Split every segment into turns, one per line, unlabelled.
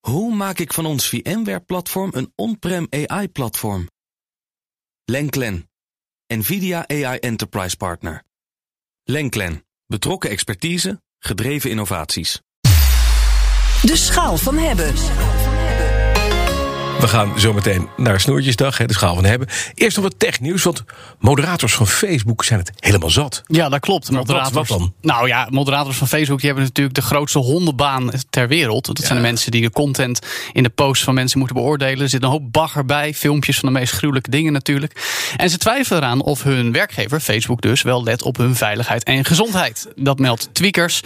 Hoe maak ik van ons VMware-platform een on-prem AI-platform? Lenklen, NVIDIA AI Enterprise Partner. Lenklen, betrokken expertise, gedreven innovaties.
De schaal van hebben.
We gaan zometeen naar Snoertjesdag, hè, de schaal van hebben. Eerst nog wat technieuws, want moderators van Facebook zijn het helemaal zat.
Ja, dat klopt.
Maar wat-
Moderators,
wat dan?
Nou ja, moderators van Facebook die hebben natuurlijk de grootste hondenbaan ter wereld. Dat zijn de mensen die de content in de posts van mensen moeten beoordelen. Er zit een hoop bagger bij, filmpjes van de meest gruwelijke dingen natuurlijk. En ze twijfelen eraan of hun werkgever, Facebook dus, wel let op hun veiligheid en gezondheid. Dat meldt Tweakers. Ze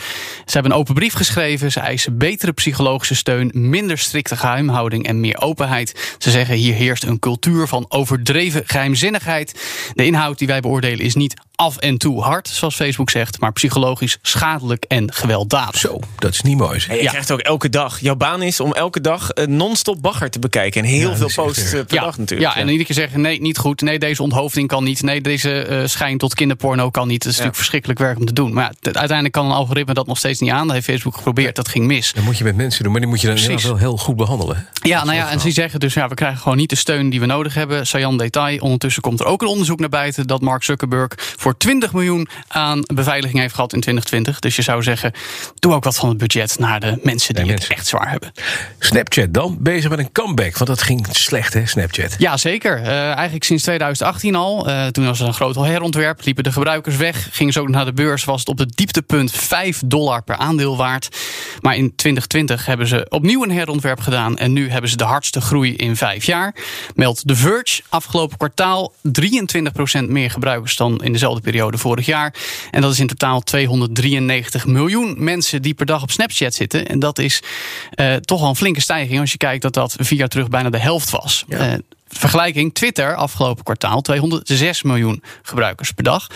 hebben een open brief geschreven. Ze eisen betere psychologische steun, minder strikte geheimhouding en meer openheid. Ze zeggen hier heerst een cultuur van overdreven geheimzinnigheid. De inhoud die wij beoordelen is niet af en toe hard, zoals Facebook zegt, maar psychologisch schadelijk en gewelddadig.
Zo, dat is niet mooi. zeg.
En je
Ja.
krijgt ook elke dag. Jouw baan is om elke dag een non-stop bagger te bekijken. En heel
Ja, dat
veel
is echt
posts
erg.
eh, per dag natuurlijk.
Ja, en iedere keer zeggen: nee, niet goed. Nee, deze onthoofding kan niet. Nee, deze eh, schijn tot kinderporno kan niet. Dat is natuurlijk verschrikkelijk werk om te doen. Maar ja, t- uiteindelijk kan een algoritme dat nog steeds niet aan. Dat heeft Facebook geprobeerd. Dat ging mis.
Dat moet je met mensen doen, maar die moet je dan
Precies.
inderdaad wel heel goed behandelen. hè.
Ja, nou ja, en ze zeggen dus, ja, we krijgen gewoon niet de steun die we nodig hebben. Sajan Detail. Ondertussen komt er ook een onderzoek naar buiten dat Mark Zuckerberg voor 20 miljoen aan beveiliging heeft gehad in 2020. Dus je zou zeggen, doe ook wat van het budget naar de mensen die
Nee,
het
mensen.
echt zwaar hebben.
Snapchat dan, bezig met een comeback, want dat ging slecht hè, Snapchat.
Ja, zeker. Eh, eigenlijk sinds 2018 al. Eh, toen was er een groot herontwerp. Liepen de gebruikers weg. Gingen ze ook naar de beurs. Was het op het dieptepunt 5 dollar per aandeel waard. Maar in 2020 hebben ze opnieuw een herontwerp gedaan. En nu hebben ze de hardste groei in vijf jaar. Meldt The Verge. Afgelopen kwartaal 23% meer gebruikers dan in dezelfde periode vorig jaar. En dat is in totaal 293 miljoen mensen die per dag op Snapchat zitten. En dat is eh, toch wel een flinke stijging als je kijkt dat dat vier jaar terug bijna de helft was. Eh, vergelijking Twitter afgelopen kwartaal 206 miljoen gebruikers per dag.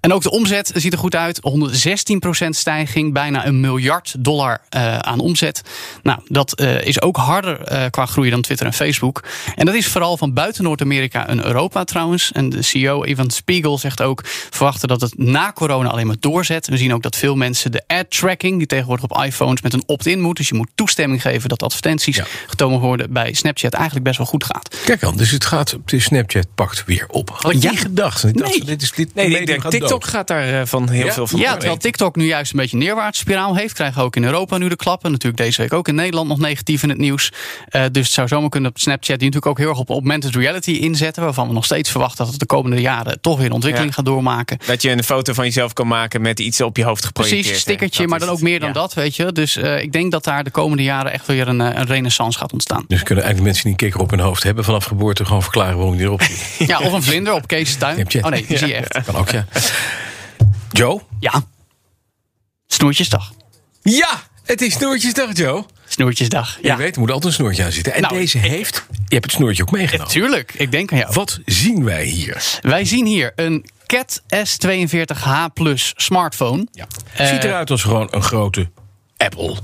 En ook de omzet ziet er goed uit. 116% stijging, bijna een miljard dollar eh, aan omzet. Nou, dat eh, is ook harder eh, qua groei dan Twitter en Facebook. En dat is vooral van buiten Noord-Amerika en Europa trouwens. En de CEO Evan Spiegel zegt ook verwachten dat het na corona alleen maar doorzet. We zien ook dat veel mensen de ad tracking, die tegenwoordig op iPhones met een opt-in moet. Dus je moet toestemming geven dat advertenties
Ja.
getoond worden bij Snapchat eigenlijk best wel goed gaat.
Kijk dan, dus het gaat, de Snapchat pakt weer op. Had ik
Ja.
niet gedacht. Ik dacht,
Nee.
dit is, dit
Nee,
medium
ik denk
gaat
TikTok
dood.
gaat daar eh, van heel
Ja?
veel van.
Ja,
op.
terwijl TikTok nu juist een beetje een neerwaartse spiraal heeft, krijgen we ook in Europa nu de klappen. Natuurlijk deze week ook in Nederland nog negatief in het nieuws. Eh, dus het zou zomaar kunnen op Snapchat, die natuurlijk ook heel erg op augmented reality inzetten, waarvan we nog steeds verwachten dat het de komende jaren toch weer een ontwikkeling
Ja.
gaat doormaken.
Dat je een foto van jezelf kan maken met iets op je hoofd geprojecteerd.
Precies,
hè.
stickertje,
Dat
maar
is
dan ook
het.
meer dan
Ja.
dat, weet je. Dus eh, ik denk dat daar de komende jaren echt weer een, eh, een renaissance gaat ontstaan.
Dus kunnen eigenlijk mensen die een kikker op hun hoofd hebben vanaf geboorte gewoon verklaren waarom die erop zit.
Ja, of een vlinder op Kees' tuin.
Snapchat.
Oh nee, die zie je echt.
Kan ook, ja. Joe?
Ja. Snoertjesdag.
Ja, het is snoertjesdag, Joe.
Snoertjesdag.
Je
Ja,
weet, er moet altijd een snoertje aan zitten. En
Nou,
deze heeft, je hebt het snoertje ook meegenomen.
tuurlijk. Ik denk aan jou.
Wat zien wij hier?
Wij zien hier een Cat S42H Plus smartphone. Ja,
Ziet eruit als gewoon een grote Apple.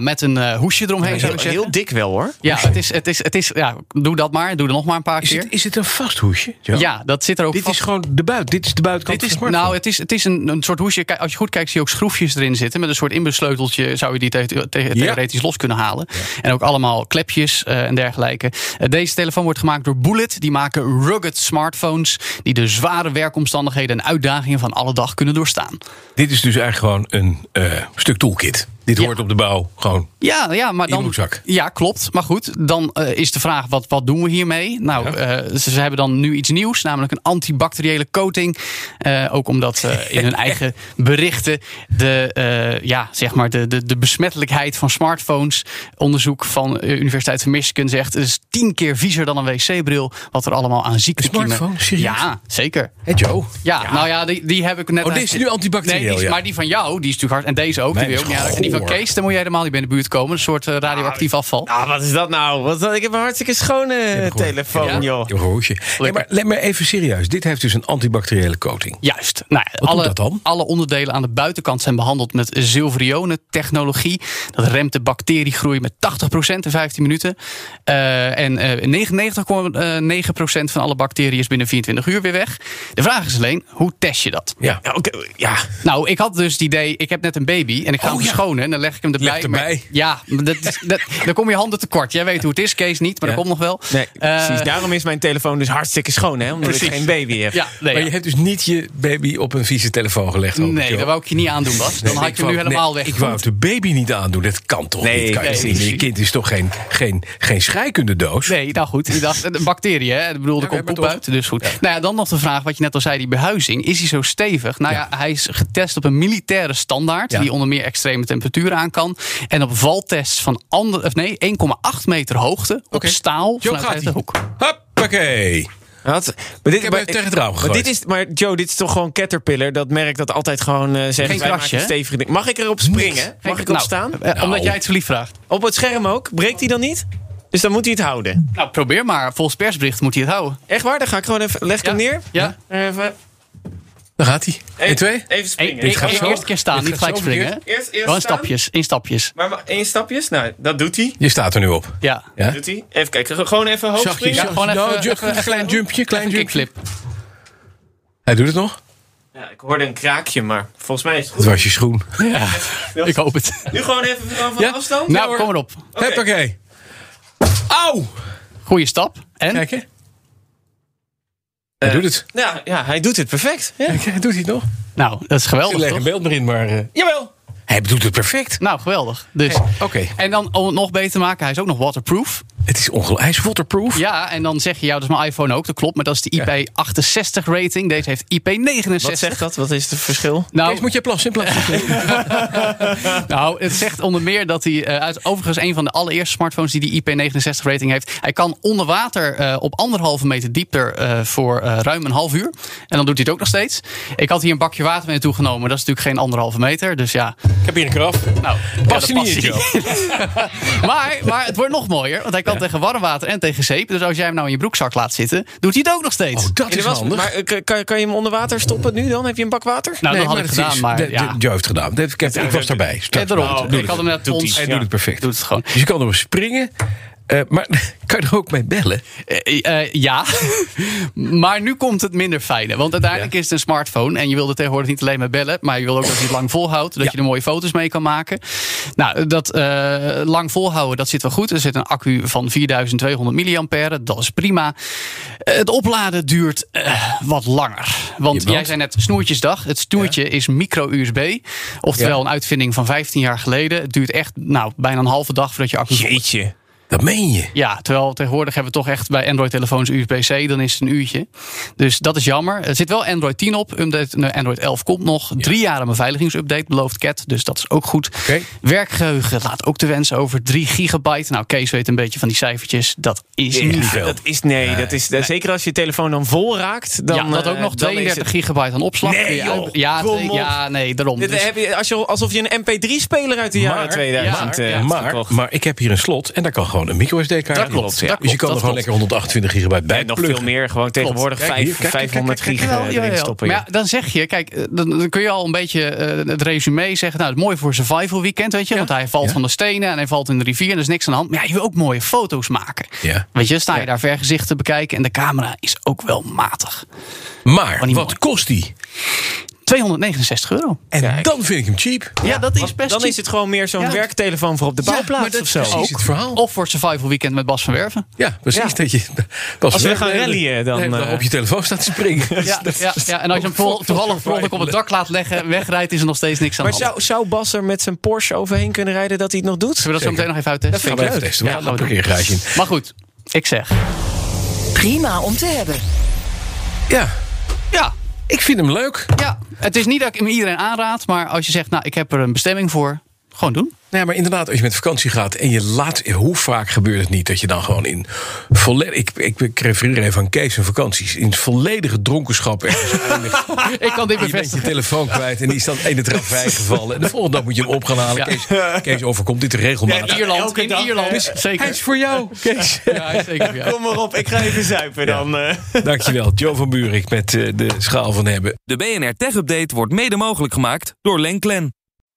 met een eh, hoesje eromheen zou ik zeggen.
Heel, heel dik wel hoor.
ja, het is, het is, het is, ja, doe dat maar. Doe er nog maar een paar
Is
keer.
het, is het een vast hoesje? Joe?
ja, dat zit er ook
Dit
vast.
is gewoon de buit. Dit is de buitenkant
Dit is,
van de
nou,
smartphone.
het is, het is een, een soort hoesje. Kijk, Als je goed kijkt, zie je ook schroefjes erin zitten. Met een soort inbesleuteltje zou je die the- the- theoretisch los kunnen halen. En ook allemaal klepjes eh, en dergelijke. Eh, deze telefoon wordt gemaakt door Bullet. Die maken rugged smartphones. Die de zware werkomstandigheden en uitdagingen van alle dag kunnen doorstaan.
Dit is dus eigenlijk gewoon een eh, stuk toolkit. Dit
nou- Ja.
hoort op de bouw gewoon.
Ja, ja, maar
In
dan.
broekzak.
Ja, klopt. Maar goed, dan eh, is de vraag: wat, wat doen we hiermee? Nou, eh, ze, ze hebben dan nu iets nieuws, namelijk een antibacteriële coating. Eh, ook omdat eh, in hun eigen berichten de, eh, ja, zeg maar de, de, de besmettelijkheid van smartphones. Onderzoek van eh, Universiteit van Michigan zegt: het is tien keer viezer dan een wc-bril. Wat er allemaal aan ziektekiemen.
smartphone? Serieus?
Ja, zeker.
Hé Joe?
Ja, nou ja, die, die heb ik net.
Oh, dit is nu antibacterieel,
Nee, die is-
ja.
maar die van jou, die is natuurlijk hard. En deze ook,
Mijn
die wil je ook
is
niet uit. En die van
goor.
Kees, daar moet je helemaal niet bij in de buurt komen. Een soort eh, radioactief afval.
Ah, wat is dat nou? Wat, ik heb een hartstikke schone eh,
Goed.
telefoon,
Ja.
joh.
Heel goed hoesje. Nee, maar let maar even serieus. Dit heeft dus een antibacteriële coating.
Juist. Nou, ja,
Wat
alle,
doet dat dan?
alle onderdelen aan de buitenkant zijn behandeld met zilverionen-technologie. Dat remt de bacteriegroei met 80% in 15 minuten. Eh, en eh 99,9% van alle bacteriën is binnen 24 uur weer weg. De vraag is alleen, hoe test je dat?
Ja.
Ja, oké, ja.
Nou, ik had dus het idee, ik heb net een baby en ik ga
Oh,
hem
ja.
verschonen. En dan leg ik hem erbij.
Leg erbij.
Maar- ja, maar dat, is- dat, dan kom je handen tekort. Jij weet hoe het is, Kees niet, maar
Ja.
dat komt nog wel.
Nee, precies.
Eh,
Daarom is mijn telefoon dus hartstikke schoon, hè? Omdat ik
Precies.
geen baby heb.
ja, nee,
maar
ja.
je hebt dus niet je baby op een vieze telefoon gelegd. hoop ik,
nee
joh.
dat wou ik je niet aandoen, Bas. Dan had
ik
ik hem nu
wou-
helemaal
nee,
weg.
Ik wou het de baby niet aandoen. Dat kan toch
Nee,
niet? Kan je
nee,
toch
precies.
niet? Je kind is toch geen, geen, geen scheikundedoos?
Nee, nou goed. Ik dacht, eh, bacteriën, hè? Ik bedoel, er
Ja,
komt
maar
poep
toch.
uit, dus goed. Nou ja, dan nog de vraag, wat je net al zei, die behuizing. Is hij zo stevig? Nou ja, hij is getest op een militaire standaard...
Ja.
die onder meer extreme temperaturen aan kan. En op valtests van ander, of nee, 1,8 meter hoogte op
Oké.
staal
Zo
vanuit
gaat
de
hij.
hoek.
Hoppakee.
Wat? Maar dit,
heb hem tegen het raam
maar
gegooid.
dit is, maar Joe, dit is toch gewoon Caterpillar? Dat merk dat altijd gewoon eh zegt...
Geen
wij
krasje,
maken
hè?
stevige dingen. Mag ik erop springen? Mag ik
Nou,
erop staan?
eh, Omdat
Nou.
jij het zo lief vraagt.
Op het scherm ook? Breekt hij dan niet? Dus dan moet hij het houden.
Nou, probeer maar. Volgens persbericht moet hij het houden.
Echt waar? Dan ga ik gewoon even... Leg ik hem
Ja.
neer?
Ja.
Even,
Daar gaat hij.
even-
En twee?
Even springen.
Eén-
Dit gaat
één-
zo.
eerst keer staan,
Dit
niet
gaat
gelijk
zo verkeerd.
springen. hè?
Eerst, eerst
Wel in
staan.
stapjes, in stapjes.
Maar wa- één stapjes? Nou, dat doet hij.
Je staat er nu op.
Ja.
Ja?
Doet hij. Even kijken. Ge- Gewoon even hoog
Zachtjes.
springen.
Ja,
zachtjes.
gewoon even-
Nou,
even-
just een
even-
klein jumpje. Klein
Een
jumpje.
kickflip.
Hij doet het nog.
Ja, ik hoorde een kraakje, maar volgens mij is het
Het
goed.
was je schoen.
Ik hoop het.
Nu gewoon even van van
Ja?
afstand.
Ja,
Nou,
hoor.
kom maar op.
Oké.
Hoppakee. Auw.
Goeie stap. En?
Kijk hè. Hij
Eh,
doet het.
Ja, ja, hij doet het perfect. Ja.
Kijk, hij doet het nog.
Nou, dat is
Ik
geweldig,
leg een
toch?
beeld maar in, maar... eh, jawel. Hij doet het perfect.
Nou, geweldig. Dus.
Oké.
En dan om het nog beter te maken, hij is ook nog waterproof.
Het is ongelooflijk. Hij is waterproof.
Ja, en dan zeg je, ja, dat is mijn iPhone ook, dat klopt. Maar dat is de IP68 rating. Deze heeft IP69.
Wat zegt dat? Wat is het verschil?
Kees,
Nou,
moet je plassen in plaats van-
nou, het zegt onder meer dat hij, eh, uit, overigens een van de allereerste smartphones die die IP69 rating heeft. Hij kan onder water eh, op anderhalve meter diepte eh, voor eh, ruim een half uur. En dan doet hij het ook nog steeds. Ik had hier een bakje water mee naartoe genomen. Dat is natuurlijk geen anderhalve meter. Dus ja,
Ik heb hier een kraf.
nou,
Past
ja,
hij
dat
niet in,
past hij. maar, maar het wordt nog mooier, want hij kan tegen warm water en tegen zeep. Dus als jij hem nou in je broekzak laat zitten, doet hij het ook nog steeds.
Oh, dat
In de
is
was-
handig.
Maar eh, kan- kan, kan je hem onder water stoppen nu dan? Heb je een bak water?
nou, dat had ik
dat
gedaan,
is-
maar
de- de-
ja.
Joe heeft het gedaan. Dat- Ik, heb- ik was daarbij.
Ja,
Straks.
daarom.
Nou,
ik had hem net
Doet
ons.
hij.
Hij
Ja.
doet het perfect.
Doet het gewoon.
Dus je kan erop springen. eh, maar kan je er ook mee bellen?
Eh, eh, ja, maar nu komt het minder fijne. Want uiteindelijk is het een smartphone. En je wil er tegenwoordig niet alleen maar bellen. Maar je wil ook dat hij het lang volhoudt. Dat je er mooie foto's mee kan maken. Nou, dat eh, lang volhouden, dat zit wel goed. Er zit een accu van 4200 mAh. Dat is prima. Eh, het opladen duurt eh, wat langer. Want
Je bent-
jij zei net snoertjesdag. Het snoertje is micro-USB. Oftewel
Ja.
een uitvinding van 15 jaar geleden. Het duurt echt nou, bijna een halve dag voordat je accu vol is.
Jeetje.
Dat meen je.
Ja, terwijl tegenwoordig hebben we toch echt bij Android-telefoons USB-C, dan is het een uurtje. Dus dat is jammer. Er zit wel Android 10 op, update, nee, Android 11 komt nog. Drie jaar een beveiligingsupdate belooft Cat, dus dat is ook goed.
Oké.
Werkgeheugen laat ook te wensen over 3 gigabyte. Nou, Kees weet een beetje van die cijfertjes, dat is niet
Ja,
veel.
dat is, nee, dat is, zeker als je je telefoon dan vol raakt. Dan,
ja, dat ook
eh,
nog
dan is
32 gigabyte aan opslag.
Nee,
Kun je
joh,
uit- ja,
kom
nee,
op.
ja, nee, daarom.
het- dit eh,
Dus-
heb je, als je, alsof je een MP3-speler uit de jaren
Maar-
2000
ja,
eh,
ja.
hebt
Maar,
gekocht.
maar ik heb hier een slot en daar kan gewoon een micro-SD-kaart
Dat
in. Dus
klopt, ja.
je kan
Dat
er gewoon
klopt.
lekker 128 gigabyte bij
en nog veel
pluggen.
meer. Gewoon tegenwoordig
Kijk,
vijf-
hier, kijk, kijk,
500
kijk, kijk,
gig eh,
Jawel,
erin
jawel.
stoppen.
Maar
ja.
ja, dan zeg je, kijk, eh, dan, dan kun je al een beetje eh, het resume zeggen. Nou, het is mooi voor survival weekend, weet je. Want hij valt
Ja.
van de stenen en hij valt in de rivier en er is niks aan de hand. Maar ja, je wil ook mooie foto's maken.
Ja.
Weet je, sta je daar vergezicht te bekijken en de camera is ook wel matig.
Maar
niet
wat
mooi.
kost die?
269 euro.
En dan vind ik hem cheap.
Ja, dat is best
Dan
cheap.
is het gewoon meer zo'n
Ja.
werktelefoon voor op de bouwplaats
maar dat
of
is
zo.
precies het verhaal.
Of voor het survival weekend met Bas van Werven.
Ja, precies.
Ja.
Dat je, als,
we gaan rallyen, dan, eh,
op je telefoon staat te springen.
Ja, ja, ja. En als je hem
vol-
vol- toevallig
survival.
vrolijk op het dak laat leggen, wegrijdt, is er nog steeds niks aan
Maar
de hand.
zou, zou Bas er met zijn Porsche overheen kunnen rijden dat hij het nog doet?
Zullen we dat zo meteen nog even uittesten?
Dat vind
Gaan
ik
we even testen.
leuk.
We
Ja,
gaan
gaan
een
we doen.
parkeergarage in.
Maar goed, ik zeg.
Prima om te hebben.
Ja,
Ja,
ik vind hem leuk.
Ja, het is niet dat ik hem iedereen aanraad, maar als je zegt, nou, ik heb er een bestemming voor, gewoon doen.
Nee, maar inderdaad, als je met vakantie gaat en je laat... Hoe vaak gebeurt het niet dat je dan gewoon in volledig... Ik, ik, ik refereer even aan Kees en vakanties. In volledige dronkenschap ergens eindigt.
Ik kan dit
Ah, Je bent je
bevestigen.
telefoon kwijt en die is dan in het ravijn gevallen. En de volgende dag moet je hem op gaan halen. Kees, Kees overkomt dit regelmatig.
In Ierland,
Elke
in
dag,
Ierland.
Hij
zeker.
is voor jou, Kees.
Ja, hij is zeker voor jou.
Kom maar op, ik ga even zuipen dan. eh.
Dankjewel, Joe van Buurik met eh, de schaal van hebben.
De BNR Tech Update wordt mede mogelijk gemaakt door Lenklen.